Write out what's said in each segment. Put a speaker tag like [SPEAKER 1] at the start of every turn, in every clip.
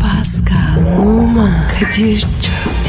[SPEAKER 1] Pascal, Oman, Kadir çok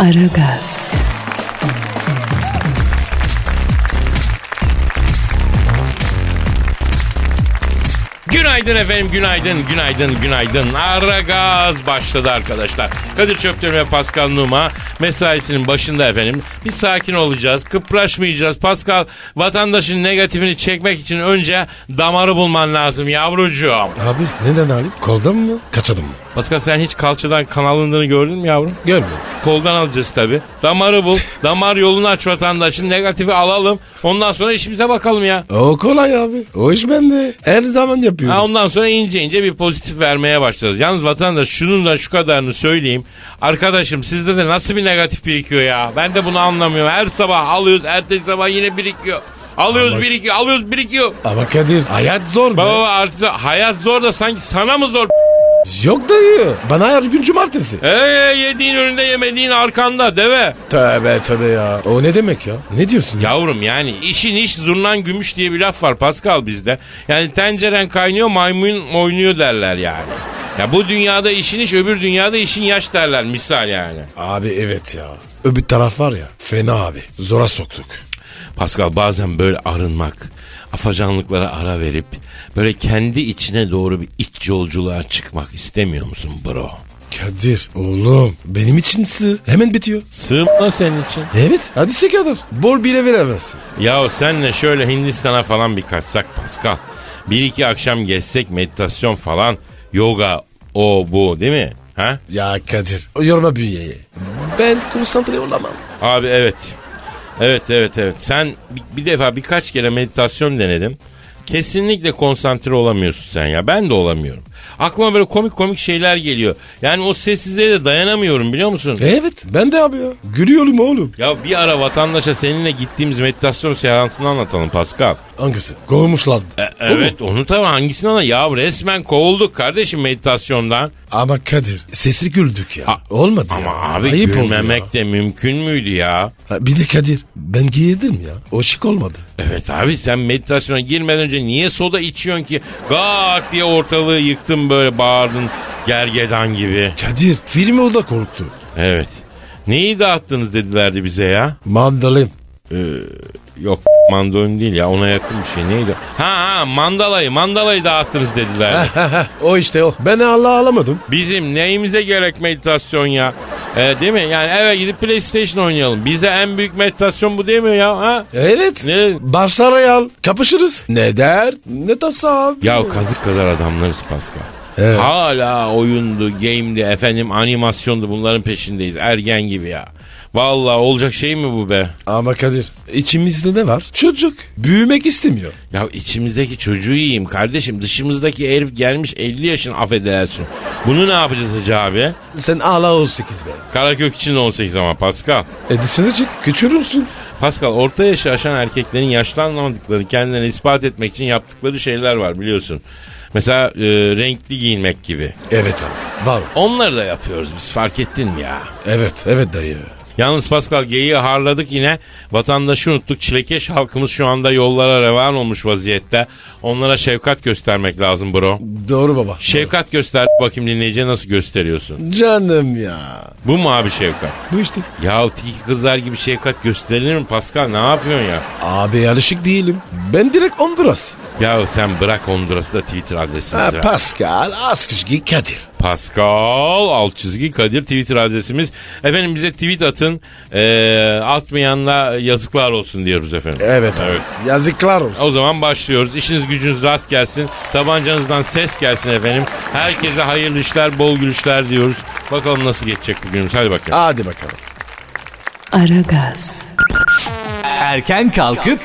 [SPEAKER 1] Aragaz,
[SPEAKER 2] Günaydın efendim, günaydın, günaydın, günaydın. Ara gaz başladı arkadaşlar. Kadir Çöpten ve Pascal Numa mesaisinin başında efendim. Bir sakin olacağız, kıpraşmayacağız. Pascal, vatandaşın negatifini çekmek için önce damarı bulman lazım yavrucuğum.
[SPEAKER 3] Abi neden alayım? Koldan mı? Kaçadım mı?
[SPEAKER 2] Pascal sen hiç kalçadan kan alındığını gördün mü yavrum?
[SPEAKER 3] Görmedim.
[SPEAKER 2] Koldan alacağız tabi. Damarı bul, damar yolunu aç vatandaşın, negatifi alalım. Ondan sonra işimize bakalım ya.
[SPEAKER 3] O kolay abi. O iş bende. Her zaman yapıyorum.
[SPEAKER 2] Ha, ondan sonra ince ince bir pozitif vermeye başlarız. Yalnız vatandaş şunun da şu kadarını söyleyeyim. Arkadaşım sizde de nasıl bir negatif birikiyor ya? Ben de bunu anlamıyorum. Her sabah alıyoruz, ertesi sabah yine birikiyor. Alıyoruz birikiyor, alıyoruz birikiyor.
[SPEAKER 3] Ama Kadir hayat zor be.
[SPEAKER 2] Baba artık hayat zor da sanki sana mı zor?
[SPEAKER 3] Yok dayı. Bana her gün cumartesi.
[SPEAKER 2] Eee yediğin önünde yemediğin arkanda deve.
[SPEAKER 3] Tövbe tövbe ya. O ne demek ya? Ne diyorsun ya?
[SPEAKER 2] Yavrum yani işin iş zurnan gümüş diye bir laf var Pascal bizde. Yani tenceren kaynıyor maymun oynuyor derler yani. Ya bu dünyada işin iş öbür dünyada işin yaş derler misal yani.
[SPEAKER 3] Abi evet ya. Öbür taraf var ya. Fena abi. Zora soktuk.
[SPEAKER 2] Pascal bazen böyle arınmak, afacanlıklara ara verip böyle kendi içine doğru bir iç yolculuğa çıkmak istemiyor musun bro?
[SPEAKER 3] Kadir oğlum benim için sı- hemen bitiyor.
[SPEAKER 2] Sığınma senin için.
[SPEAKER 3] Evet. Hadi size kadar. Bol bile veremezsin.
[SPEAKER 2] Ya senle şöyle Hindistan'a falan bir kaçsak Pascal. Bir iki akşam gezsek meditasyon falan, yoga, o bu değil mi? Ha?
[SPEAKER 3] Ya Kadir yorma bünyeyi. Ben konsantre olamam.
[SPEAKER 2] Abi evet. Evet evet evet. Sen bir, bir defa birkaç kere meditasyon denedim. Kesinlikle konsantre olamıyorsun sen ya. Ben de olamıyorum. Aklıma böyle komik komik şeyler geliyor. Yani o sessizliğe de dayanamıyorum biliyor musun?
[SPEAKER 3] Evet ben de abi ya. Gülüyorum oğlum.
[SPEAKER 2] Ya bir ara vatandaşa seninle gittiğimiz meditasyon seansını anlatalım Pascal.
[SPEAKER 3] Hangisi? Kovmuşlar.
[SPEAKER 2] E, evet onu tabii hangisini ana? Ya resmen kovulduk kardeşim meditasyondan.
[SPEAKER 3] Ama Kadir sesli güldük ya. Olmadı ya.
[SPEAKER 2] Ama abi
[SPEAKER 3] Ayıp oldu ya.
[SPEAKER 2] gülmemek de mümkün müydü ya?
[SPEAKER 3] Ha, bir de Kadir ben giydim ya. O şık olmadı.
[SPEAKER 2] Evet abi sen meditasyona girmeden önce niye soda içiyorsun ki? Gak diye ortalığı yıktın böyle bağırdın gergedan gibi.
[SPEAKER 3] Kadir filmi o da korktu.
[SPEAKER 2] Evet. Neyi dağıttınız dedilerdi bize ya.
[SPEAKER 3] Mandalim.
[SPEAKER 2] Yok mandolin değil ya ona yakın bir şey neydi? Ha ha mandalayı mandalayı dağıttınız dedilerdi.
[SPEAKER 3] o işte o. Ben Allah alamadım.
[SPEAKER 2] Bizim neyimize gerek meditasyon ya? E, değil mi? Yani eve gidip PlayStation oynayalım. Bize en büyük meditasyon bu değil mi ya? Ha?
[SPEAKER 3] E, Evet.
[SPEAKER 2] Ne?
[SPEAKER 3] Başlara al. Kapışırız. Ne der ne tasar.
[SPEAKER 2] Ya kazık kadar adamlarız Pascal.
[SPEAKER 3] Evet.
[SPEAKER 2] Hala oyundu, game'di, efendim animasyondu bunların peşindeyiz. Ergen gibi ya. Vallahi olacak şey mi bu be?
[SPEAKER 3] Ama Kadir içimizde ne var? Çocuk büyümek istemiyor.
[SPEAKER 2] Ya içimizdeki çocuğu yiyeyim kardeşim. Dışımızdaki herif gelmiş 50 yaşın affedersin. Bunu ne yapacağız hacı abi?
[SPEAKER 3] Sen ala 18 be.
[SPEAKER 2] Karakök için 18 ama Pascal.
[SPEAKER 3] E dışına çık. Küçülürsün.
[SPEAKER 2] Pascal orta yaşı aşan erkeklerin yaşlanmadıklarını kendilerine ispat etmek için yaptıkları şeyler var biliyorsun. Mesela e, renkli giyinmek gibi.
[SPEAKER 3] Evet abi. Var.
[SPEAKER 2] Onları da yapıyoruz biz fark ettin mi ya?
[SPEAKER 3] Evet. Evet dayı.
[SPEAKER 2] Yalnız Pascal geyiği harladık yine. Vatandaşı unuttuk. Çilekeş halkımız şu anda yollara revan olmuş vaziyette. Onlara şefkat göstermek lazım bro.
[SPEAKER 3] Doğru baba.
[SPEAKER 2] Şefkat göster bakayım dinleyiciye nasıl gösteriyorsun.
[SPEAKER 3] Canım ya.
[SPEAKER 2] Bu mu abi şefkat?
[SPEAKER 3] Bu işte.
[SPEAKER 2] Ya tiki kızlar gibi şefkat gösterilir mi Pascal ne yapıyorsun ya?
[SPEAKER 3] Abi alışık değilim. Ben direkt Honduras.
[SPEAKER 2] Ya sen bırak Honduras'ı da Twitter adresimiz.
[SPEAKER 3] Ha,
[SPEAKER 2] ya.
[SPEAKER 3] Pascal Askışgi Kadir.
[SPEAKER 2] Pascal alt çizgi Kadir Twitter adresimiz. Efendim bize tweet atın. Ee, atmayanla yazıklar olsun diyoruz efendim.
[SPEAKER 3] Evet abi. Yazıklar olsun.
[SPEAKER 2] O zaman başlıyoruz. İşiniz gücünüz rast gelsin. Tabancanızdan ses gelsin efendim. Herkese hayırlı işler, bol gülüşler diyoruz. Bakalım nasıl geçecek bugünümüz. Hadi bakalım.
[SPEAKER 3] Hadi bakalım.
[SPEAKER 1] Aragaz,
[SPEAKER 4] Erken kalkıp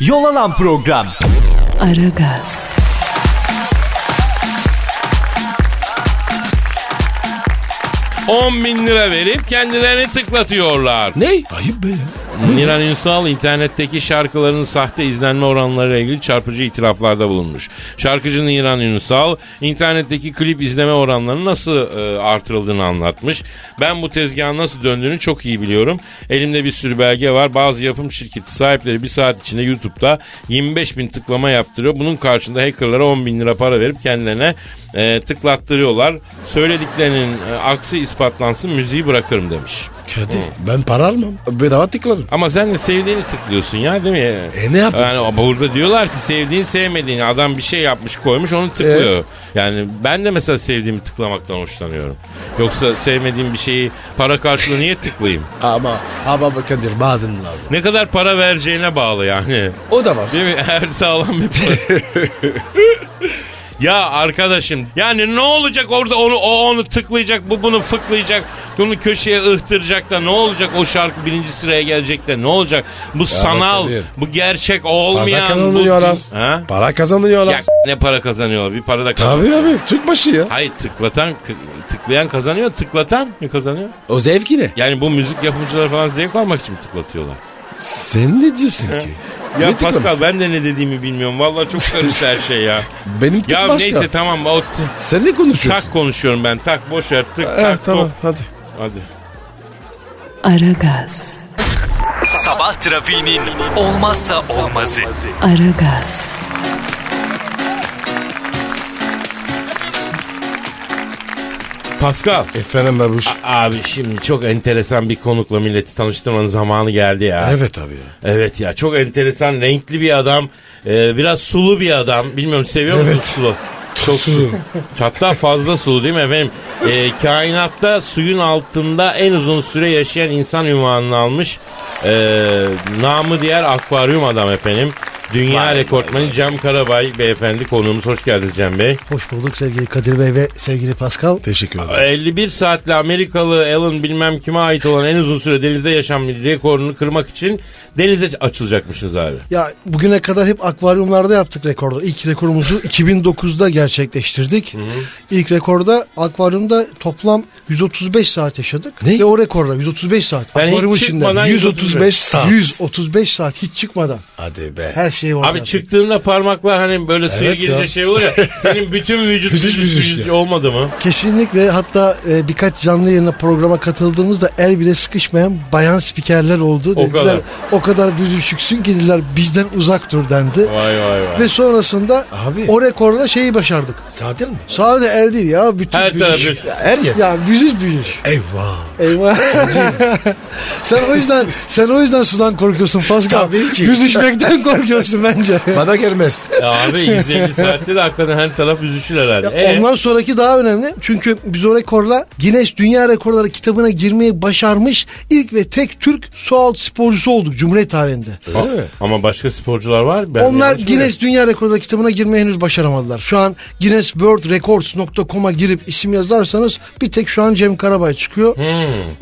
[SPEAKER 4] yol alan program.
[SPEAKER 1] Aragaz,
[SPEAKER 2] 10 bin lira verip kendilerini tıklatıyorlar.
[SPEAKER 3] Ne? Ayıp be ya.
[SPEAKER 2] Niran Ünsal internetteki şarkıların sahte izlenme oranlarıyla ilgili çarpıcı itiraflarda bulunmuş. Şarkıcı Niran Ünsal internetteki klip izleme oranlarının nasıl e, artırıldığını anlatmış. Ben bu tezgahın nasıl döndüğünü çok iyi biliyorum. Elimde bir sürü belge var. Bazı yapım şirketi sahipleri bir saat içinde YouTube'da 25 bin tıklama yaptırıyor. Bunun karşında hackerlara 10 bin lira para verip kendilerine e, tıklattırıyorlar. Söylediklerinin e, aksi ispatlansın müziği bırakırım demiş.
[SPEAKER 3] Kadir ben para almam. Bedava tıkladım.
[SPEAKER 2] Ama sen de sevdiğini tıklıyorsun ya değil mi?
[SPEAKER 3] E ne yapayım?
[SPEAKER 2] Yani burada diyorlar ki sevdiğin sevmediğin adam bir şey yapmış koymuş onu tıklıyor.
[SPEAKER 3] E?
[SPEAKER 2] Yani ben de mesela sevdiğimi tıklamaktan hoşlanıyorum. Yoksa sevmediğim bir şeyi para karşılığı niye tıklayayım?
[SPEAKER 3] Ama ama bak Kadir bazen lazım.
[SPEAKER 2] Ne kadar para vereceğine bağlı yani.
[SPEAKER 3] O da var.
[SPEAKER 2] Değil mi? Her sağlam bir para. Ya arkadaşım yani ne olacak orada onu o onu tıklayacak bu bunu fıklayacak bunu köşeye ıhtıracak da ne olacak o şarkı birinci sıraya gelecek de ne olacak bu sanal
[SPEAKER 3] Kadir.
[SPEAKER 2] bu gerçek
[SPEAKER 3] Para
[SPEAKER 2] olmayan bu
[SPEAKER 3] kazanıyorlar.
[SPEAKER 2] ha?
[SPEAKER 3] Para
[SPEAKER 2] Ya
[SPEAKER 3] kazanıyorlar.
[SPEAKER 2] ne para kazanıyorlar bir para da kazanıyor.
[SPEAKER 3] Tabii abi. Türk başı ya.
[SPEAKER 2] Hayır tıklatan tıklayan kazanıyor tıklatan ne kazanıyor?
[SPEAKER 3] O zevki ne?
[SPEAKER 2] Yani bu müzik yapımcıları falan zevk almak için mi tıklatıyorlar?
[SPEAKER 3] Sen ne diyorsun ki?
[SPEAKER 2] Ya
[SPEAKER 3] Ne tıklamışsın?
[SPEAKER 2] Pascal ben de ne dediğimi bilmiyorum. Vallahi çok karıştı her şey ya.
[SPEAKER 3] Benim tık
[SPEAKER 2] ya
[SPEAKER 3] başka.
[SPEAKER 2] neyse tamam o t-
[SPEAKER 3] Sen ne konuşuyorsun?
[SPEAKER 2] tak konuşuyorum ben. Tak boş ver. Tık
[SPEAKER 3] Eh,
[SPEAKER 2] tak.
[SPEAKER 3] tamam
[SPEAKER 2] tok.
[SPEAKER 3] hadi.
[SPEAKER 2] Hadi.
[SPEAKER 1] Aragaz,
[SPEAKER 4] Sabah trafiğinin olmazsa olmazı.
[SPEAKER 1] Aragaz,
[SPEAKER 2] Pascal.
[SPEAKER 3] Efendim babuş.
[SPEAKER 2] Abi şimdi çok enteresan bir konukla milleti tanıştırmanın zamanı geldi ya.
[SPEAKER 3] Evet abi ya.
[SPEAKER 2] Evet ya çok enteresan renkli bir adam. Ee, biraz sulu bir adam. Bilmiyorum seviyor musun
[SPEAKER 3] Evet.
[SPEAKER 2] sulu? Çok sulu. Hatta fazla sulu değil mi efendim? Ee, kainatta suyun altında en uzun süre yaşayan insan ünvanını almış. Ee, namı diğer akvaryum adam efendim. Dünya rekortmeni Cem Karabay beyefendi konuğumuz. Hoş geldiniz Cem Bey.
[SPEAKER 5] Hoş bulduk sevgili Kadir Bey ve sevgili Pascal.
[SPEAKER 3] Teşekkür ederim.
[SPEAKER 2] 51 saatli Amerikalı Alan bilmem kime ait olan en uzun süre denizde yaşam rekorunu kırmak için denize açılacakmışsınız abi.
[SPEAKER 5] Ya bugüne kadar hep akvaryumlarda yaptık rekorları. İlk rekorumuzu 2009'da gerçekleştirdik. İlk rekorda akvaryumda toplam 135 saat yaşadık.
[SPEAKER 3] Ne?
[SPEAKER 5] Ve o rekorla 135 saat.
[SPEAKER 2] Yani hiç
[SPEAKER 5] Akvaryumun
[SPEAKER 2] çıkmadan 135
[SPEAKER 3] saat.
[SPEAKER 5] 135 saat hiç çıkmadan.
[SPEAKER 3] Hadi be.
[SPEAKER 5] Her şey var.
[SPEAKER 2] Abi
[SPEAKER 5] zaten.
[SPEAKER 2] çıktığında parmaklar hani böyle suya
[SPEAKER 3] Evet
[SPEAKER 2] girince
[SPEAKER 3] ya.
[SPEAKER 2] şey olur ya. şey Senin bütün vücut
[SPEAKER 3] Püzüş
[SPEAKER 2] vücut,
[SPEAKER 3] püzüş
[SPEAKER 2] vücut
[SPEAKER 3] ya.
[SPEAKER 2] olmadı mı?
[SPEAKER 5] Kesinlikle hatta e, birkaç canlı yayına programa katıldığımızda el bile sıkışmayan bayan spikerler oldu.
[SPEAKER 2] O
[SPEAKER 5] dediler,
[SPEAKER 2] kadar.
[SPEAKER 5] O kadar büzüşüksün ki dediler bizden uzak dur dendi.
[SPEAKER 2] Vay vay vay.
[SPEAKER 5] Ve sonrasında
[SPEAKER 3] Abi.
[SPEAKER 5] o rekorla şeyi başardık.
[SPEAKER 3] Saatin mi?
[SPEAKER 5] Sadece el değil ya. Bütün
[SPEAKER 2] Her
[SPEAKER 5] büyüyüş.
[SPEAKER 2] tarafı.
[SPEAKER 3] Her yer.
[SPEAKER 5] Ya büzüş büyüyüş.
[SPEAKER 3] Eyvah.
[SPEAKER 5] Eyvah. sen o yüzden sen o yüzden sudan korkuyorsun Pascal.
[SPEAKER 3] Tabii ki.
[SPEAKER 5] Büzüşmekten korkuyorsun bence.
[SPEAKER 3] Bana gelmez.
[SPEAKER 2] Ya abi 150 saatte de hakikaten her taraf üzüşür herhalde.
[SPEAKER 5] Ya
[SPEAKER 2] Ee,
[SPEAKER 5] Ondan sonraki daha önemli. Çünkü biz o rekorla Guinness Dünya Rekorları kitabına girmeyi başarmış ilk ve tek Türk sualtı sporcusu olduk Cumhuriyet tarihinde.
[SPEAKER 2] a- ama başka sporcular var. Ben
[SPEAKER 5] Onlar
[SPEAKER 2] yanlış
[SPEAKER 5] Guinness Dünya Rekorları kitabına girmeyi henüz başaramadılar. Şu an Guinness World Records.com'a girip isim yazarsanız bir tek şu an Cem Karabay çıkıyor.
[SPEAKER 2] Hmm.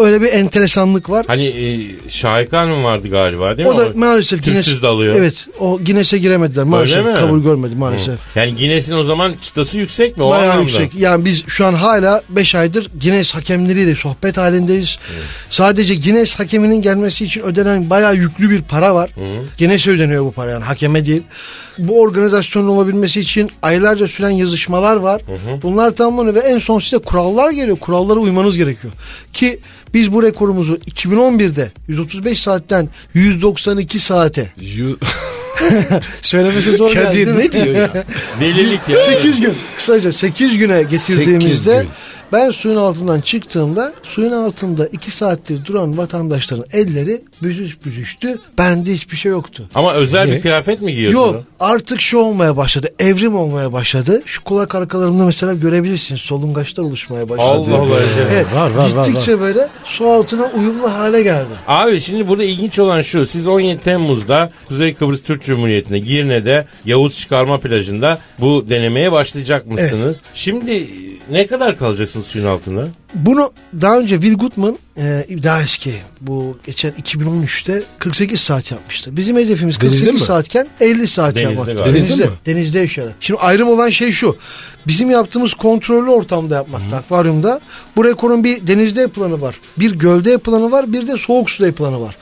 [SPEAKER 5] Öyle bir enteresanlık var.
[SPEAKER 2] Hani e, Şahika Hanım vardı galiba değil mi?
[SPEAKER 5] o da maalesef
[SPEAKER 2] Tüpsüz
[SPEAKER 5] Guinness
[SPEAKER 2] dalıyor.
[SPEAKER 5] Evet, o Guinness'e giremediler maalesef.
[SPEAKER 2] mi?
[SPEAKER 5] Kabul görmedi maalesef.
[SPEAKER 2] Yani Guinness'in o zaman çıtası yüksek mi? O
[SPEAKER 5] Bayağı
[SPEAKER 2] anlamda.
[SPEAKER 5] yüksek. Yani biz şu an hala 5 aydır Guinness hakemleriyle sohbet halindeyiz. Sadece Guinness hakeminin gelmesi için ödenen bayağı yüklü bir para var. Guinness'e ödeniyor bu para yani hakeme değil. Bu organizasyonun olabilmesi için aylarca süren yazışmalar var. Bunlar tamamlanıyor ve en son size kurallar geliyor. Kurallara uymanız gerekiyor. Ki biz bu rekorumuzu 2011'de 135 saatten 192 saate
[SPEAKER 3] You...
[SPEAKER 5] söylemesi zor geldi.
[SPEAKER 3] Kadir
[SPEAKER 5] şey değil mi?
[SPEAKER 3] ne diyor ya?
[SPEAKER 2] Delilik ya.
[SPEAKER 5] 8 gün. Kısaca 8 güne getirdiğimizde
[SPEAKER 3] Sekiz gün.
[SPEAKER 5] ben suyun altından çıktığımda suyun altında 2 saattir duran vatandaşların elleri büzüş büzüştü. Bende hiçbir şey yoktu.
[SPEAKER 2] Ama özel
[SPEAKER 3] Niye?
[SPEAKER 2] bir kıyafet mi giyiyorsun?
[SPEAKER 5] Yok artık şu olmaya başladı. Evrim olmaya başladı. Şu kulak arkalarında mesela görebilirsin. Solungaçlar oluşmaya başladı.
[SPEAKER 2] Allah Allah.
[SPEAKER 5] Evet,
[SPEAKER 3] Var, var, var, var.
[SPEAKER 5] gittikçe böyle su altına uyumlu hale geldi.
[SPEAKER 2] Abi şimdi burada ilginç olan şu. Siz 17 Temmuz'da Kuzey Kıbrıs Türk Cumhuriyeti'nde Girne'de Yavuz Çıkarma Plajı'nda bu denemeye başlayacak mısınız? Şimdi ne kadar kalacaksınız suyun altında?
[SPEAKER 5] Bunu daha önce Will Goodman e, daha eski bu geçen 2013'te 48 saat yapmıştı. Bizim hedefimiz
[SPEAKER 3] Denizde
[SPEAKER 5] 48
[SPEAKER 3] mi?
[SPEAKER 5] saatken 50 saat
[SPEAKER 2] Denizde
[SPEAKER 5] yapmak.
[SPEAKER 2] galiba.
[SPEAKER 3] Denizde mi?
[SPEAKER 5] Denizde yaşayarak. Şimdi ayrım olan şey şu. Bizim yaptığımız kontrollü ortamda yapmakta akvaryumda. Bu rekorun bir denizde yapılanı var. Bir gölde yapılanı var. Bir de soğuk suda yapılanı var.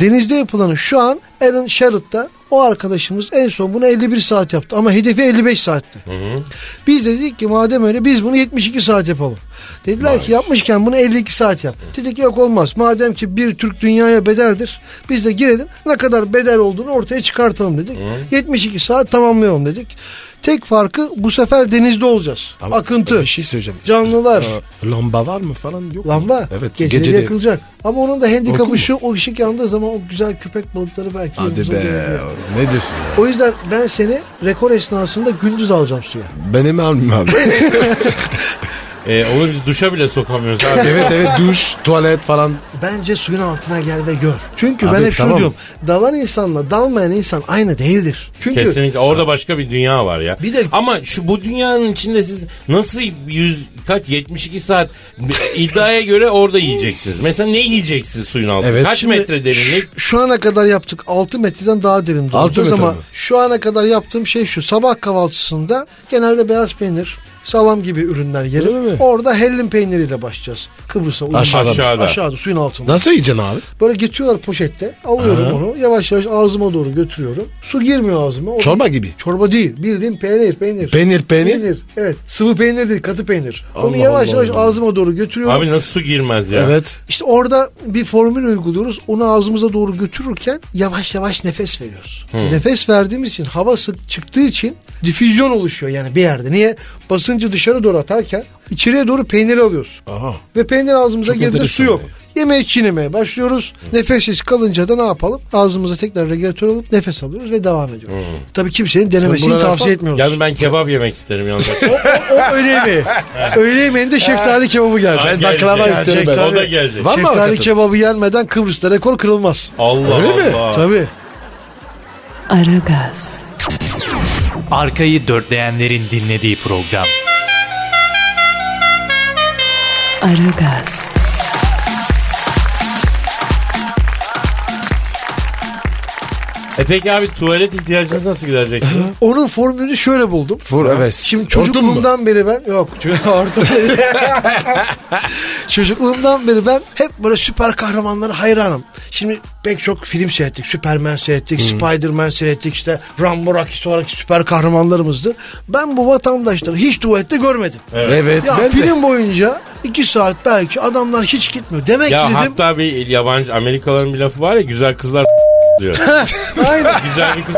[SPEAKER 5] Denizde yapılanı şu an Alan Sherrod'da o arkadaşımız en son bunu 51 saat yaptı ama hedefi 55 saatti. Biz de dedik ki madem öyle biz bunu 72 saat yapalım. Dediler ki yapmışken bunu 52 saat yap. Dedik yok olmaz. Madem ki bir Türk dünyaya bedeldir. Biz de girelim ne kadar bedel olduğunu ortaya çıkartalım dedik. 72 saat tamamlayalım dedik. Tek farkı bu sefer denizde olacağız.
[SPEAKER 3] Ama
[SPEAKER 5] Akıntı,
[SPEAKER 3] Bir şey söyleyeceğim.
[SPEAKER 5] canlılar,
[SPEAKER 3] Ee, Lamba var mı falan yok mu?
[SPEAKER 5] lamba
[SPEAKER 3] Evet.
[SPEAKER 5] geceleri
[SPEAKER 3] geceleri-
[SPEAKER 5] yakılacak. Ama onun da
[SPEAKER 3] Korkun mu?
[SPEAKER 5] handikapı şu o ışık yandığı zaman o güzel köpek balıkları belki
[SPEAKER 3] Hadi
[SPEAKER 5] yanımıza
[SPEAKER 3] be.
[SPEAKER 5] gelebilir.
[SPEAKER 3] Ne diyorsun ya?
[SPEAKER 5] O yüzden ben seni rekor esnasında gündüz alacağım suya.
[SPEAKER 3] Beni mi almayayım abi?
[SPEAKER 2] Ee, onu biz duşa bile sokamıyoruz abi.
[SPEAKER 3] evet evet duş, tuvalet falan.
[SPEAKER 5] Bence suyun altına gel ve gör. Çünkü ben
[SPEAKER 3] Abi,
[SPEAKER 5] hep
[SPEAKER 3] tamam.
[SPEAKER 5] şunu diyorum. Dalan insanla dalmayan insan aynı değildir. Çünkü
[SPEAKER 2] Kesinlikle orada başka bir dünya var ya.
[SPEAKER 5] Bir de-
[SPEAKER 2] ama şu bu dünyanın içinde siz nasıl yüz kaç 72 saat iddiaya göre orada yiyeceksiniz. Mesela ne yiyeceksiniz suyun altında?
[SPEAKER 3] Evet.
[SPEAKER 2] kaç
[SPEAKER 3] Şimdi
[SPEAKER 2] metre derinlik?
[SPEAKER 5] e, şu, şu ana kadar yaptık 6 metreden daha derin doğru.
[SPEAKER 3] Altı metre
[SPEAKER 5] ama
[SPEAKER 3] mi?
[SPEAKER 5] şu ana kadar yaptığım şey şu. Sabah kahvaltısında genelde beyaz peynir, salam gibi ürünler
[SPEAKER 3] Öyle mi?
[SPEAKER 5] yerim. Orada hellim peyniriyle başlayacağız. Kıbrıs'a uygun.
[SPEAKER 3] Aşağıdan.
[SPEAKER 2] Aşağıda.
[SPEAKER 5] Aşağıda suyun altında.
[SPEAKER 3] Nasıl yiyeceksin abi?
[SPEAKER 5] Böyle getiriyorlar poşette. Alıyorum onu. Yavaş yavaş ağzıma doğru götürüyorum. Su girmiyor ağzıma. O-
[SPEAKER 3] Çorba gibi.
[SPEAKER 5] Çorba değil. Bildiğin peynir, peynir.
[SPEAKER 3] Peynir peynir.
[SPEAKER 5] Evet. Sıvı peynir değil, katı peynir.
[SPEAKER 3] Allah
[SPEAKER 5] Onu yavaş
[SPEAKER 3] Allah
[SPEAKER 5] yavaş
[SPEAKER 3] Allah.
[SPEAKER 5] ağzıma doğru götürüyorum.
[SPEAKER 2] Abi nasıl su girmez ya?
[SPEAKER 3] Evet.
[SPEAKER 5] İşte orada bir formül uyguluyoruz. Onu ağzımıza doğru götürürken yavaş yavaş nefes veriyoruz. Nefes verdiğimiz için hava sık çıktığı için difüzyon oluşuyor yani bir yerde. Niye? Basıncı dışarı doğru atarken içeriye doğru peynir alıyoruz.
[SPEAKER 3] Aha.
[SPEAKER 5] Ve peynir ağzımıza
[SPEAKER 3] Çok
[SPEAKER 5] girdi
[SPEAKER 3] enteresan
[SPEAKER 5] su yok.
[SPEAKER 3] yani.
[SPEAKER 5] Yemeği çiğnemeye başlıyoruz. Nefessiz kalınca da ne yapalım? Ağzımıza tekrar regülatör alıp nefes alıyoruz ve devam ediyoruz. Tabii kimsenin denemesini
[SPEAKER 3] bunlara
[SPEAKER 5] tavsiye
[SPEAKER 3] bak-
[SPEAKER 5] etmiyoruz.
[SPEAKER 2] Yani ben kebap yemek isterim yalnız.
[SPEAKER 5] O öğle yemeği. öğle yemeğinde şeftali kebabı geldi.
[SPEAKER 2] Ben baklava
[SPEAKER 3] isterim ben.
[SPEAKER 2] O da gelecek.
[SPEAKER 3] Var mı
[SPEAKER 5] şeftali
[SPEAKER 3] hakikaten?
[SPEAKER 5] kebabı yenmeden Kıbrıs'ta rekor kırılmaz.
[SPEAKER 2] Allah
[SPEAKER 3] Öyle mi?
[SPEAKER 2] Allah.
[SPEAKER 5] Tabii.
[SPEAKER 1] Aragaz,
[SPEAKER 4] Arkayı dörtleyenlerin dinlediği program.
[SPEAKER 1] Aragaz,
[SPEAKER 2] E peki abi tuvalet ihtiyacınız nasıl gidereceksiniz?
[SPEAKER 5] Onun formülünü şöyle buldum.
[SPEAKER 3] Vur evet.
[SPEAKER 5] Şimdi
[SPEAKER 3] Hortum mu?
[SPEAKER 5] çocukluğumdan beri ben yok orta çocukluğumdan beri ben hep böyle süper kahramanlara hayranım. Şimdi pek çok film seyrettik. Superman
[SPEAKER 3] Hmm.
[SPEAKER 5] seyrettik, Spider-Man seyrettik işte Rambo Rocky sonraki süper kahramanlarımızdı. Ben bu vatandaşları hiç tuvalette görmedim.
[SPEAKER 3] Evet
[SPEAKER 5] Ya
[SPEAKER 3] ben de.
[SPEAKER 5] film boyunca iki saat belki adamlar hiç gitmiyor. Demek
[SPEAKER 2] ya
[SPEAKER 5] ki dedim.
[SPEAKER 2] hatta bir yabancı Amerikalıların bir lafı var ya güzel kızlar diyor.
[SPEAKER 5] Aynen.
[SPEAKER 2] güzel bir kız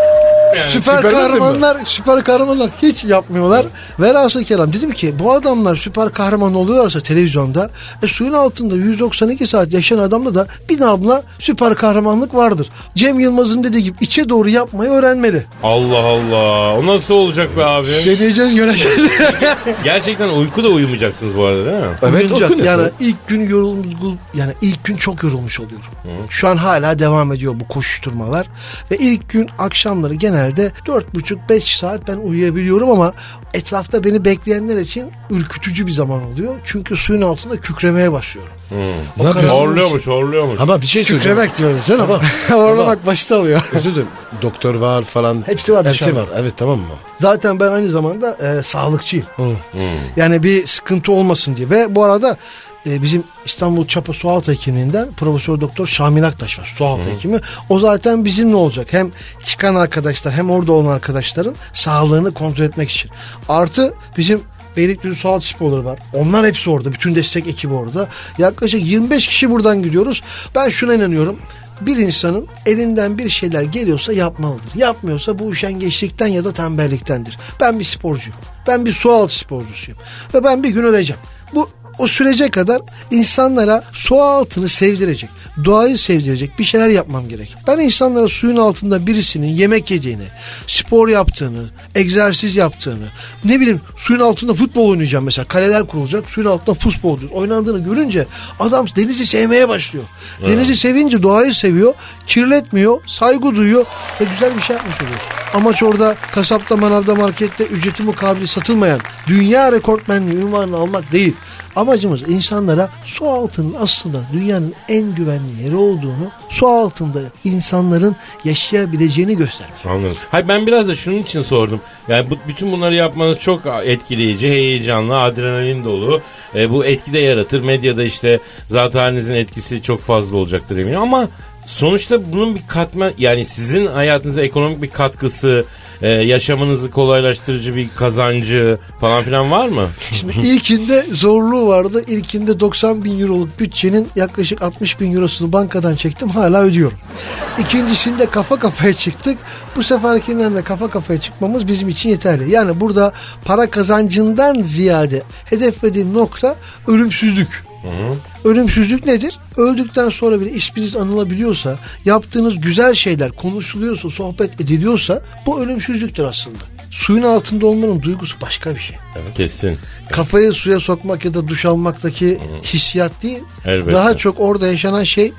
[SPEAKER 2] yani.
[SPEAKER 5] Süper,
[SPEAKER 3] Süper
[SPEAKER 5] kahramanlar, süper kahramanlar hiç yapmıyorlar. Velhasıl kelam dedim ki bu adamlar süper kahraman oluyorlarsa televizyonda e, suyun altında 192 saat yaşayan adamda da bir damla süper kahramanlık vardır. Cem Yılmaz'ın dediği gibi içe doğru yapmayı öğrenmeli.
[SPEAKER 2] Allah Allah. O nasıl olacak be abi?
[SPEAKER 5] Deneyeceğiz göreceğiz.
[SPEAKER 2] Gerçekten uyku da uyumayacaksınız bu arada değil mi?
[SPEAKER 3] Evet
[SPEAKER 5] Uyuyunca-
[SPEAKER 3] okun
[SPEAKER 5] yani
[SPEAKER 3] yani.
[SPEAKER 5] ilk gün yorulmuş yani ilk gün çok yorulmuş oluyorum. Şu an hala devam ediyor bu koşuşturmalar ve ilk gün akşamları genelde 4,5-5 saat ben uyuyabiliyorum ama etrafta beni bekleyenler için ürkütücü bir zaman oluyor. Çünkü suyun altında kükremeye başlıyorum.
[SPEAKER 3] Ne yapıyorsun?
[SPEAKER 2] Horluyormuş horluyormuş.
[SPEAKER 3] Ama bir şey söyleyeceğim.
[SPEAKER 5] Kükremek diyoruz canım. Horlamak basit alıyor.
[SPEAKER 3] Özür dilerim. Doktor var falan.
[SPEAKER 5] Hepsi var
[SPEAKER 3] Hepsi
[SPEAKER 5] dışarıda.
[SPEAKER 3] var. Evet tamam mı?
[SPEAKER 5] Zaten ben aynı zamanda e, sağlıkçıyım.
[SPEAKER 3] Hı.
[SPEAKER 5] Yani bir sıkıntı olmasın diye. Ve bu arada e, bizim İstanbul Çapa Sualtı Hekimliği'nden Profesör Doktor Şamil Aktaş var. Sualtı Hekimi. O zaten bizimle olacak. Hem çıkan arkadaşlar hem orada olan arkadaşların sağlığını kontrol etmek için. Artı bizim Beylikdüzü Sualtı Sporları var. Onlar hepsi orada. Bütün destek ekibi orada. Yaklaşık 25 kişi buradan gidiyoruz. Ben şuna inanıyorum. Bir insanın elinden bir şeyler geliyorsa yapmalıdır. Yapmıyorsa bu üşengeçlikten ya da tembelliktendir. Ben bir sporcuyum. Ben bir su altı sporcusuyum. Ve ben bir gün öleceğim. Bu O sürece kadar insanlara su altını sevdirecek, doğayı sevdirecek bir şeyler yapmam gerek. Ben insanlara suyun altında birisinin yemek yediğini, spor yaptığını, egzersiz yaptığını, ne bileyim suyun altında futbol oynayacağım mesela. Kaleler kurulacak, suyun altında futbol oynandığını görünce adam denizi sevmeye başlıyor. Denizi sevince doğayı seviyor, kirletmiyor, saygı duyuyor ve güzel bir şey yapmış oluyor. Amaç orada kasapta, manavda, markette ücreti mukabili satılmayan dünya rekortmenliği ünvanını almak değil. Amacımız insanlara su altının aslında dünyanın en güvenli yeri olduğunu, su altında insanların yaşayabileceğini göstermek.
[SPEAKER 2] Anladım. Hayır ben biraz da şunun için sordum. Yani bu, bütün bunları yapmanız çok etkileyici, heyecanlı, adrenalin dolu. E, bu etki de yaratır. Medyada işte zaten halinizin etkisi çok fazla olacaktır eminim. Ama sonuçta bunun bir katma yani sizin hayatınıza ekonomik bir katkısı, e, yaşamınızı kolaylaştırıcı bir kazancı falan filan var mı?
[SPEAKER 5] Şimdi ilkinde zorluğu vardı. İlkinde 90 bin euroluk bütçenin yaklaşık 60 bin eurosunu bankadan çektim. Hala ödüyorum. İkincisinde kafa kafaya çıktık. Bu seferkinden de kafa kafaya çıkmamız bizim için yeterli. Yani burada para kazancından ziyade hedeflediğim nokta ölümsüzlük. Ölümsüzlük nedir? Öldükten sonra bile isminiz anılabiliyorsa, yaptığınız güzel şeyler konuşuluyorsa, sohbet ediliyorsa bu ölümsüzlüktür aslında. Suyun altında olmanın duygusu başka bir şey.
[SPEAKER 2] Kesin.
[SPEAKER 5] Kafayı suya sokmak ya da duş almaktaki hissiyat değil.
[SPEAKER 2] Elbette.
[SPEAKER 5] Daha çok orada yaşanan şey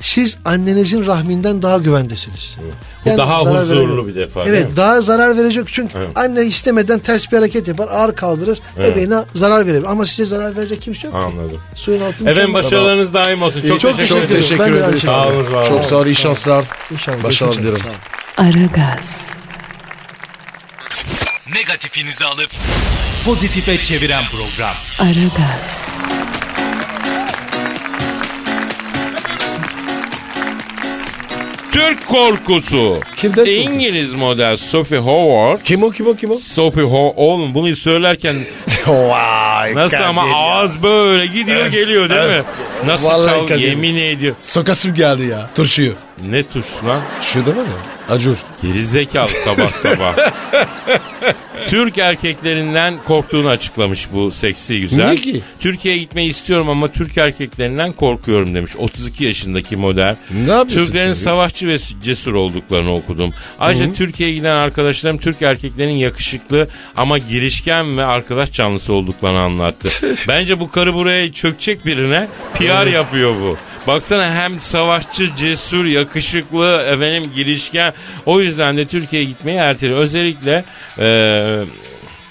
[SPEAKER 5] siz annenizin rahminden daha güvendesiniz.
[SPEAKER 2] Bu daha
[SPEAKER 5] zarar
[SPEAKER 2] huzurlu
[SPEAKER 5] verecek-
[SPEAKER 2] bir defa,
[SPEAKER 5] Evet
[SPEAKER 2] değil mi?
[SPEAKER 5] daha zarar verecek çünkü
[SPEAKER 2] Evet.
[SPEAKER 5] anne istemeden ters bir hareket yapar ağır kaldırır bebeğine zarar verebilir. Ama size zarar verecek kimse yok. ki.
[SPEAKER 2] Anladım.
[SPEAKER 5] Suyun altında
[SPEAKER 2] Efendim başarılarınız daim olsun. Çok,
[SPEAKER 5] Çok
[SPEAKER 2] teşekkür
[SPEAKER 5] teşekkür
[SPEAKER 2] ederim.
[SPEAKER 5] ederim. Ben de aynı
[SPEAKER 2] Sağ olun. var olun.
[SPEAKER 3] Çok sağ ol, iyi şanslar.
[SPEAKER 5] İnşallah.
[SPEAKER 3] Başarılar
[SPEAKER 5] Görüşmek üzere.
[SPEAKER 3] dilerim.
[SPEAKER 5] Sağ olun.
[SPEAKER 1] Aragaz,
[SPEAKER 4] Negatifinizi alıp pozitife çeviren program.
[SPEAKER 1] Aragaz,
[SPEAKER 2] Türk korkusu.
[SPEAKER 3] Kimden korkuyorsun?
[SPEAKER 2] İngiliz model Sophie Howard.
[SPEAKER 3] Kim o kim o kim o?
[SPEAKER 2] Sophie Howard. Oğlum bunu söylerken
[SPEAKER 3] Vay.
[SPEAKER 2] nasıl ama
[SPEAKER 3] Kadir ya.
[SPEAKER 2] ağız böyle gidiyor geliyor değil mi?
[SPEAKER 3] evet.
[SPEAKER 2] Nasıl
[SPEAKER 3] Vallahi
[SPEAKER 2] çal
[SPEAKER 3] Kadir.
[SPEAKER 2] yemin ediyor.
[SPEAKER 3] Sokasım geldi ya. Turşuyu.
[SPEAKER 2] Ne tuş lan?
[SPEAKER 3] Şurada var ya. Acur.
[SPEAKER 2] Geri zekalı sabah sabah. Türk erkeklerinden korktuğunu açıklamış bu seksi güzel.
[SPEAKER 3] Niye ki?
[SPEAKER 2] Türkiye'ye gitmeyi istiyorum ama Türk erkeklerinden korkuyorum demiş. 32 yaşındaki model.
[SPEAKER 3] Ne yapıyorsun
[SPEAKER 2] Türklerin
[SPEAKER 3] tabii?
[SPEAKER 2] savaşçı ve cesur olduklarını okudum. Ayrıca Türkiye'ye giden arkadaşlarım Türk erkeklerinin yakışıklı ama girişken ve arkadaş canlısı olduklarını anlattı. Bence bu karı buraya çökecek birine PR yapıyor bu. Baksana hem savaşçı, cesur, yakışıklı, efendim girişken. O yüzden de Türkiye'ye gitmeyi erteliyor. Özellikle eee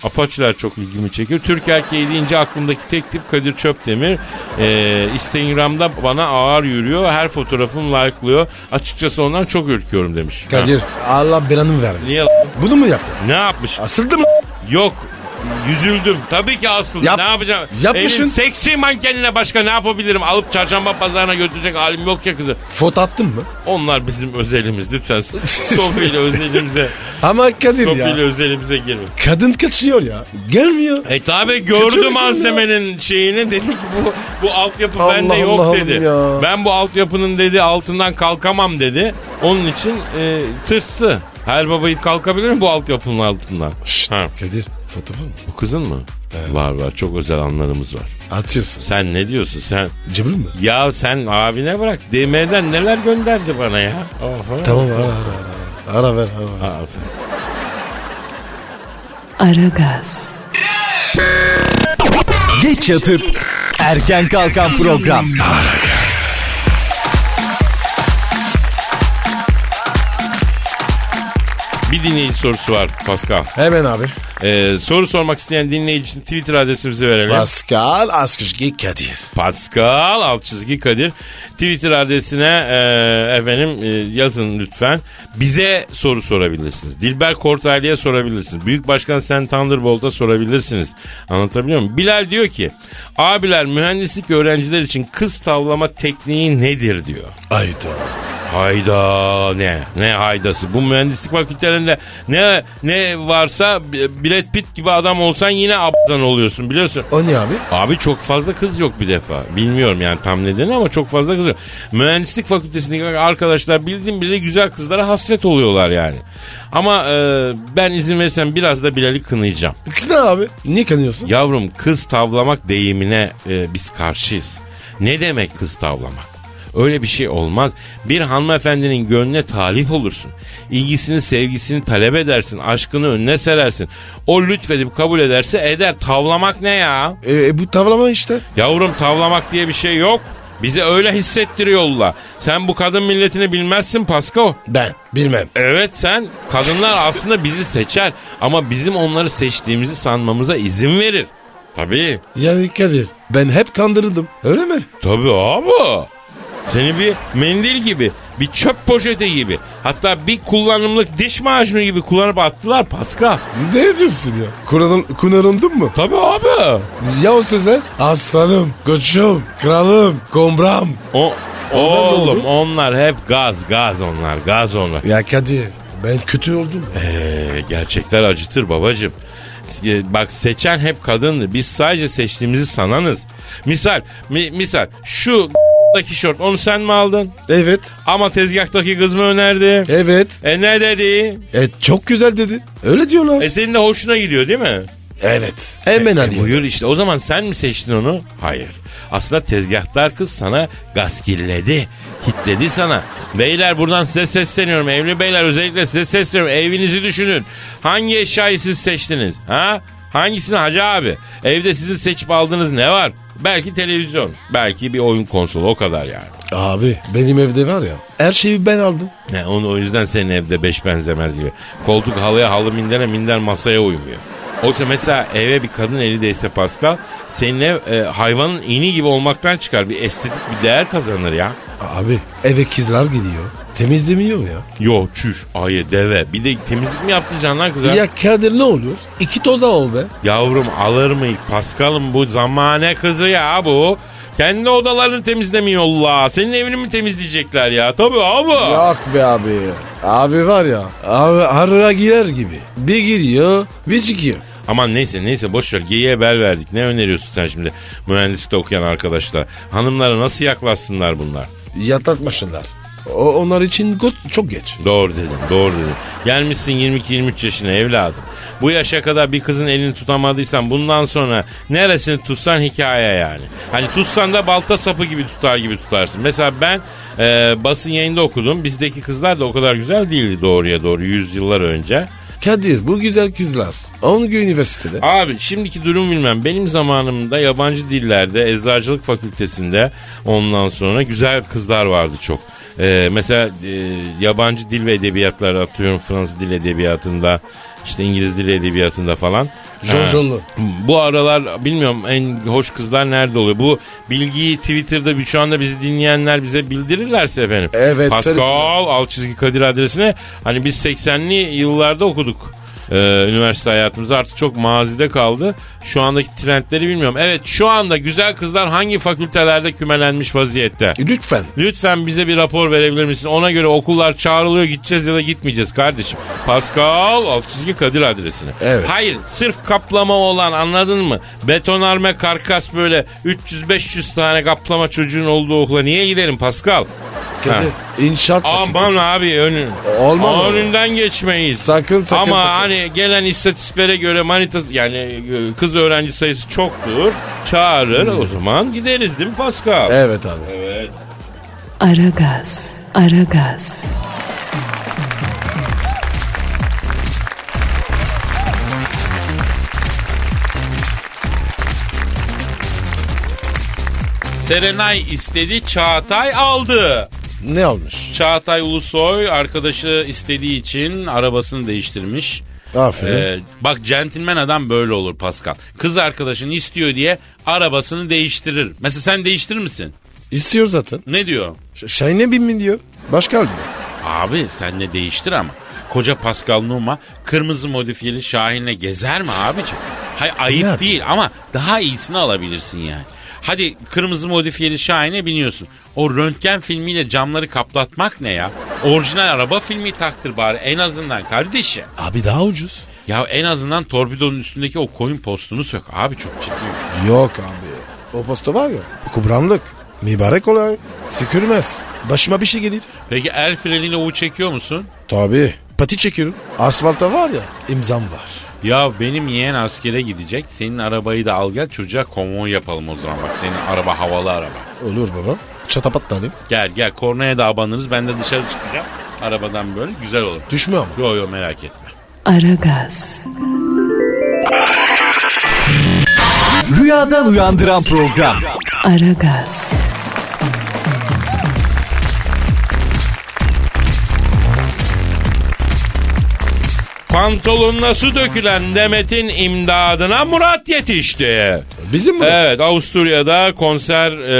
[SPEAKER 2] Apaçlar çok ilgimi çekiyor. Türk erkeği deyince aklımdaki tek tip Kadir Çöpdemir. Ee, Instagram'da bana ağır yürüyor. Her fotoğrafım like'lıyor. Açıkçası ondan çok ürküyorum demiş.
[SPEAKER 3] Kadir.
[SPEAKER 2] Ha.
[SPEAKER 3] Allah belanı vermesin.
[SPEAKER 2] Niye?
[SPEAKER 3] Bunu mu yaptın?
[SPEAKER 2] Ne yapmış?
[SPEAKER 3] Asıldı mı?
[SPEAKER 2] Yok. Yüzüldüm. Tabii ki asıldım.
[SPEAKER 3] Yap-
[SPEAKER 2] ne yapacağım?
[SPEAKER 3] Yapmışsın.
[SPEAKER 2] Elin seksi mankenine başka ne yapabilirim? Alıp çarşamba pazarına götürecek halim yok ya kızı.
[SPEAKER 3] Fot attın mı?
[SPEAKER 2] Onlar bizim özelimiz. Lütfen Sofi ile özelimize,
[SPEAKER 3] Ama Kadir
[SPEAKER 2] Sofi
[SPEAKER 3] ya.
[SPEAKER 2] ile özelimize girme.
[SPEAKER 3] Kadın kaçıyor ya. Gelmiyor.
[SPEAKER 2] E tabi
[SPEAKER 3] Kötü
[SPEAKER 2] gördü
[SPEAKER 3] mü
[SPEAKER 2] malzemenin şeyini dedi ki bu bu altyapı
[SPEAKER 3] Allah
[SPEAKER 2] bende yok
[SPEAKER 3] Allah'ım
[SPEAKER 2] dedi.
[SPEAKER 3] ya.
[SPEAKER 2] Ben bu altyapının dedi altından kalkamam dedi. Onun için e, tırstı. Her babayı kalkabilir mi bu altyapının altından?
[SPEAKER 3] Şşt,
[SPEAKER 2] Ha,
[SPEAKER 3] Kadir. Foto var mı?
[SPEAKER 2] bu kızın mı? Var var çok özel anlarımız var.
[SPEAKER 3] Atıyorsun.
[SPEAKER 2] Sen ne diyorsun sen?
[SPEAKER 3] Cebim mi?
[SPEAKER 2] Ya sen abine bırak. DM'den neler gönderdi bana ya. Oho.
[SPEAKER 3] Tamam ara ara ara. Ara ver ara ver.
[SPEAKER 2] Aa, aferin.
[SPEAKER 1] Aragaz,
[SPEAKER 4] Geç yatıp erken kalkan program.
[SPEAKER 2] Bir dinleyici sorusu var Pascal.
[SPEAKER 3] Hemen abi.
[SPEAKER 2] E, soru sormak isteyen dinleyici için Twitter adresimizi verelim.
[SPEAKER 3] Pascal Askışki Kadir.
[SPEAKER 2] Pascal alt çizgi Kadir Twitter adresine e, efendim e, yazın lütfen. Bize soru sorabilirsiniz. Dilber Kortaylı'ya sorabilirsiniz. Büyük Başkan Sen Thunderbolt'a sorabilirsiniz. Anlatabiliyor muyum? Bilal diyor ki abiler mühendislik öğrenciler için kız tavlama tekniği nedir diyor.
[SPEAKER 3] Ayda.
[SPEAKER 2] Hayda ne ne haydası bu mühendislik fakültelerinde ne ne varsa B- Brad Pitt gibi adam olsan yine aptan oluyorsun biliyorsun.
[SPEAKER 6] O ne abi?
[SPEAKER 2] Abi çok fazla kız yok bir defa. Bilmiyorum yani tam nedeni ama çok fazla kız yok. Mühendislik fakültesindeki arkadaşlar bildiğim bile güzel kızlara hasret oluyorlar yani. Ama e, ben izin verirsen biraz da Bilal'i kınayacağım.
[SPEAKER 6] Ne abi? Niye kanıyorsun?
[SPEAKER 2] Yavrum kız tavlamak deyimine e, biz karşıyız. Ne demek kız tavlamak? Öyle bir şey olmaz. Bir hanımefendinin gönlüne talip olursun. İlgisini, sevgisini talep edersin. Aşkını önüne serersin. O lütfedip kabul ederse eder. Tavlamak ne ya?
[SPEAKER 6] E, e, bu tavlama işte.
[SPEAKER 2] Yavrum tavlamak diye bir şey yok. Bize öyle hissettiriyorlar. Sen bu kadın milletini bilmezsin Pasko.
[SPEAKER 3] Ben bilmem.
[SPEAKER 2] Evet sen kadınlar aslında bizi seçer ama bizim onları seçtiğimizi sanmamıza izin verir. Tabii.
[SPEAKER 3] Yani Kadir
[SPEAKER 6] Ben hep kandırıldım. Öyle mi?
[SPEAKER 2] Tabii abi. Seni bir mendil gibi, bir çöp poşeti gibi, hatta bir kullanımlık diş macunu gibi kullanıp attılar Paska.
[SPEAKER 6] Ne diyorsun ya? Kuralım, kunarındın mı?
[SPEAKER 2] Tabii abi.
[SPEAKER 6] Ya o sözler?
[SPEAKER 3] aslanım, koçum, kralım, kombram.
[SPEAKER 2] O,
[SPEAKER 6] Onlar ne oldu?
[SPEAKER 2] oğlum onlar hep gaz, gaz onlar, gaz onlar.
[SPEAKER 3] Ya Kadir ben kötü oldum. ya.
[SPEAKER 2] Ee, gerçekler acıtır babacım. E, Bak seçen hep kadındı. Biz sadece seçtiğimizi sananız. Misal, mi- misal şu tişört onu sen mi aldın?
[SPEAKER 6] Evet.
[SPEAKER 2] Ama tezgahtaki kız mı önerdi?
[SPEAKER 6] Evet.
[SPEAKER 2] E ne dedi?
[SPEAKER 6] E, çok güzel dedi. Öyle diyorlar.
[SPEAKER 2] E senin de hoşuna gidiyor değil mi?
[SPEAKER 3] Evet.
[SPEAKER 6] Hemen
[SPEAKER 2] E,
[SPEAKER 6] hadi.
[SPEAKER 2] buyur işte o zaman sen mi seçtin onu? Hayır. Aslında tezgahtar kız sana gaskilledi. Hitledi sana. Beyler buradan size sesleniyorum. Evli beyler özellikle size sesleniyorum. Evinizi düşünün. Hangi eşyayı siz seçtiniz? Ha? Hangisini hacı abi? Evde sizin seçip aldığınız ne var? Belki televizyon. Belki bir oyun konsolu o kadar yani.
[SPEAKER 3] Abi benim evde var ya
[SPEAKER 6] Her şeyi ben aldım.
[SPEAKER 2] Ne, onu, o yüzden senin evde beş benzemez gibi. Koltuk halıya halı mindere minder masaya uymuyor. Oysa mesela eve bir kadın eli değse Pascal senin ev e, hayvanın iğni gibi olmaktan çıkar. Bir estetik bir değer kazanır ya.
[SPEAKER 3] abi
[SPEAKER 6] Eve kızlar gidiyor. Temizlemiyor ya.
[SPEAKER 2] Yo çüş ayı deve bir de temizlik mi yaptıracaksın lan kıza?
[SPEAKER 6] Ya Kadir ne olur? İki toza ol be.
[SPEAKER 2] Yavrum alır mı Pascal'ım bu zamane kızı ya bu. Kendi odalarını temizlemiyorlar. Senin evini mi temizleyecekler ya? Tabii abi.
[SPEAKER 6] Yok be abi. Abi var ya. Abi harra girer gibi. Bir giriyor bir çıkıyor.
[SPEAKER 2] Aman neyse neyse boş ver. Geyiğe bel verdik. Ne öneriyorsun sen şimdi mühendislikte okuyan arkadaşlar? Hanımlara nasıl yaklaşsınlar bunlar?
[SPEAKER 6] Yatlatmasınlar. O, onlar için go- çok geç.
[SPEAKER 2] Doğru dedin, doğru dedin. Gelmişsin 22-23 yaşına evladım. Bu yaşa kadar bir kızın elini tutamadıysan bundan sonra neresini tutsan hikaye yani. Hani tutsan da balta sapı gibi tutar gibi tutarsın. Mesela ben e, basın yayında okudum. Bizdeki kızlar da o kadar güzel değildi doğruya doğru yüzyıllar önce.
[SPEAKER 6] Kadir bu güzel kızlar. 10 gün üniversitede.
[SPEAKER 2] Abi şimdiki durum bilmem. Benim zamanımda yabancı dillerde eczacılık fakültesinde ondan sonra güzel kızlar vardı çok. Ee, mesela e, yabancı dil ve edebiyatlar atıyorum Fransız dil edebiyatında işte İngiliz dil edebiyatında falan. Ha.
[SPEAKER 6] Jonjonlu.
[SPEAKER 2] Bu aralar bilmiyorum en hoş kızlar nerede oluyor? Bu bilgiyi Twitter'da bir- şu anda bizi dinleyenler bize bildirirlerse efendim.
[SPEAKER 6] Evet,
[SPEAKER 2] Pascal
[SPEAKER 6] sarısın.
[SPEAKER 2] alt çizgi Kadir adresine hani biz 80'li yıllarda okuduk. Ee, üniversite hayatımız artık çok mazide kaldı. Şu andaki trendleri bilmiyorum. Evet şu anda güzel kızlar hangi fakültelerde kümelenmiş vaziyette?
[SPEAKER 3] E,
[SPEAKER 6] Lütfen.
[SPEAKER 2] Lütfen bize bir rapor verebilir misin? Ona göre okullar çağrılıyor gideceğiz ya da gitmeyeceğiz kardeşim. Pascal alt çizgi Kadir adresine.
[SPEAKER 6] Evet.
[SPEAKER 2] Hayır sırf kaplama olan anladın mı? Betonarme karkas böyle 300-500 tane kaplama çocuğun olduğu okula niye gidelim Pascal? Ha.
[SPEAKER 6] Kadir. İnşaat.
[SPEAKER 2] Aman
[SPEAKER 6] fakültesi.
[SPEAKER 2] abi önün.
[SPEAKER 6] Olmaz mı?
[SPEAKER 2] Önünden geçmeyiz.
[SPEAKER 6] Sakın, sakın,
[SPEAKER 2] Ama
[SPEAKER 6] sakın.
[SPEAKER 2] hani gelen istatistiklere göre manita yani e, kız öğrenci sayısı çoktur. Çağırır
[SPEAKER 6] Hmm.
[SPEAKER 2] o zaman gideriz değil mi Pascal?
[SPEAKER 6] Evet abi.
[SPEAKER 2] Evet.
[SPEAKER 1] Aragaz, Aragaz,
[SPEAKER 2] Serenay istedi Çağatay aldı.
[SPEAKER 3] ne almış?
[SPEAKER 2] Çağatay Ulusoy arkadaşı istediği için arabasını değiştirmiş. Ee,
[SPEAKER 3] Aferin.
[SPEAKER 2] bak centilmen adam böyle olur Pascal. Kız arkadaşını istiyor diye arabasını değiştirir. Mesela sen değiştirir misin?
[SPEAKER 6] İstiyor zaten.
[SPEAKER 2] Ne diyor?
[SPEAKER 6] Ş- Şahine bin mi diyor. Başka alıyor.
[SPEAKER 2] Abi sen de değiştir ama. Koca Pascal Numa kırmızı modifiyeli Şahin'le gezer mi abiciğim? Hayır ayıp
[SPEAKER 3] Ne?
[SPEAKER 2] değil ama daha iyisini alabilirsin yani. Hadi kırmızı modifiyeli Şahin'e biniyorsun. O röntgen filmiyle camları kaplatmak ne ya? Orijinal araba filmi taktır bari en azından kardeşim.
[SPEAKER 3] Abi daha ucuz.
[SPEAKER 2] Ya en azından torpidonun üstündeki o koyun postunu sök. Abi çok ciddi.
[SPEAKER 3] Yok abi. O posta var ya. Kubranlık. Mübarek olay. Sükürmez. Başıma bir şey gelir.
[SPEAKER 2] Peki el freniyle U çekiyor musun?
[SPEAKER 3] Tabii. Pati çekiyorum. Asfalta var ya. İmzam var.
[SPEAKER 2] Ya benim yeğen askere gidecek. Senin arabayı da al gel çocuğa konvoy yapalım o zaman bak. Senin araba havalı araba.
[SPEAKER 3] Olur baba. Çatapat da alayım.
[SPEAKER 2] Gel gel kornaya da abanırız. Ben de dışarı çıkacağım. Arabadan böyle güzel olur.
[SPEAKER 3] Düşme ama.
[SPEAKER 2] Yo yo merak etme.
[SPEAKER 1] Aragaz,
[SPEAKER 4] Rüyadan uyandıran program.
[SPEAKER 1] Aragaz,
[SPEAKER 2] Pantolonuna su dökülen Demet'in imdadına Murat yetişti.
[SPEAKER 6] Bizim mi?
[SPEAKER 2] Evet Avusturya'da konser e,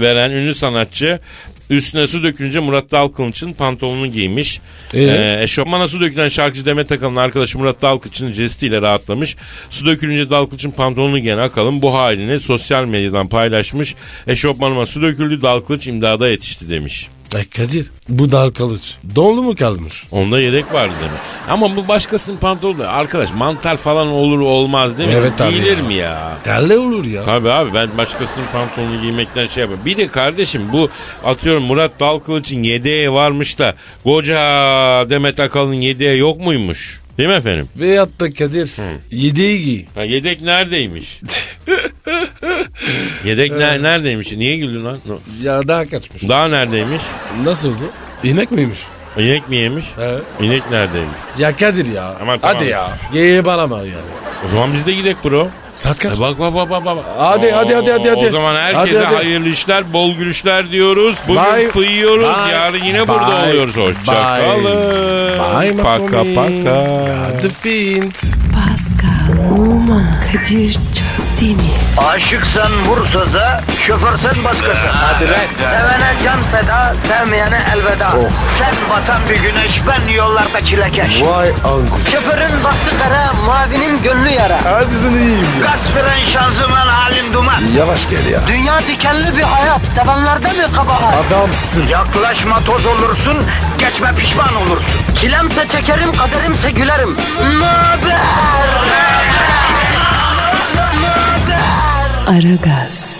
[SPEAKER 2] veren ünlü sanatçı üstüne su dökülünce Murat Dalkılıç'ın pantolonunu giymiş.
[SPEAKER 6] Ee?
[SPEAKER 2] E, eşofmana su dökülen şarkıcı Demet Akalın arkadaşı Murat Dalkılıç'ın jestiyle rahatlamış. Su dökülünce Dalkılıç'ın pantolonunu giyen Akalın bu halini sosyal medyadan paylaşmış. Eşofmanıma su döküldü Dalkılıç imdada yetişti demiş.
[SPEAKER 3] E Kadir. Bu dal kalıç. Dolu mu kalmış?
[SPEAKER 2] Onda yedek vardı demek. Ama bu başkasının pantolonu. Arkadaş mantar falan olur olmaz değil mi?
[SPEAKER 3] Evet tabii
[SPEAKER 2] Giyilir
[SPEAKER 3] ya.
[SPEAKER 2] mi ya?
[SPEAKER 3] Derle olur ya.
[SPEAKER 2] Tabii abi ben başkasının pantolonunu giymekten şey yapıyorum. Bir de kardeşim bu atıyorum Murat Dalkılıç'ın yedeği varmış da koca Demet Akalın yedeği yok muymuş? Değil mi efendim?
[SPEAKER 3] Veyahut da Kadir. Yediği giy.
[SPEAKER 2] Ha, yedek neredeymiş? yedek ne- neredeymiş? Niye güldün lan? No.
[SPEAKER 3] Ya daha kaçmış.
[SPEAKER 2] Daha neredeymiş?
[SPEAKER 3] Nasıldı? İnek miymiş?
[SPEAKER 2] İnek mi yemiş?
[SPEAKER 3] Evet.
[SPEAKER 2] İnek neredeymiş?
[SPEAKER 3] Ya Kadir ya.
[SPEAKER 2] Aman tamam.
[SPEAKER 3] Hadi ya. Geyiğe bağlama ya.
[SPEAKER 2] O zaman biz de gidek bro.
[SPEAKER 3] Saat kaç?
[SPEAKER 2] E bak bak bak bak. bak.
[SPEAKER 3] Hadi, hadi, hadi, hadi,
[SPEAKER 2] O
[SPEAKER 3] hadi.
[SPEAKER 2] zaman herkese
[SPEAKER 3] Hadi, hadi.
[SPEAKER 2] hayırlı işler, bol gülüşler diyoruz. Bugün
[SPEAKER 3] Bye.
[SPEAKER 2] fıyıyoruz,
[SPEAKER 3] Bye.
[SPEAKER 2] yarın yine
[SPEAKER 3] Bye.
[SPEAKER 2] burada oluyoruz.
[SPEAKER 3] Bye
[SPEAKER 2] Hoşçakalın.
[SPEAKER 3] my
[SPEAKER 2] Paka
[SPEAKER 3] homie.
[SPEAKER 2] paka.
[SPEAKER 3] Hadi fint.
[SPEAKER 1] Pascal, Oman, Kadir çok değil mi?
[SPEAKER 7] Aşıksan vursa da, şoförsen başkasın. Hadi Sevene can feda, sevmeyene elveda. Sen batan bir güneş, ben yollarda çilekeş.
[SPEAKER 3] Vay anku.
[SPEAKER 7] Şoförün baktı kara, mavinin gönlü yara.
[SPEAKER 3] Hadi sen iyiyim ya.
[SPEAKER 7] Kasperen şanzıman halin duman.
[SPEAKER 3] Yavaş gel ya.
[SPEAKER 7] Dünya dikenli bir hayat, sevenlerde mi kabahar?
[SPEAKER 3] Adamsın.
[SPEAKER 7] Yaklaşma toz olursun, geçme pişman olursun. Çilemse çekerim, kaderimse gülerim. Möber!
[SPEAKER 1] Aragaz.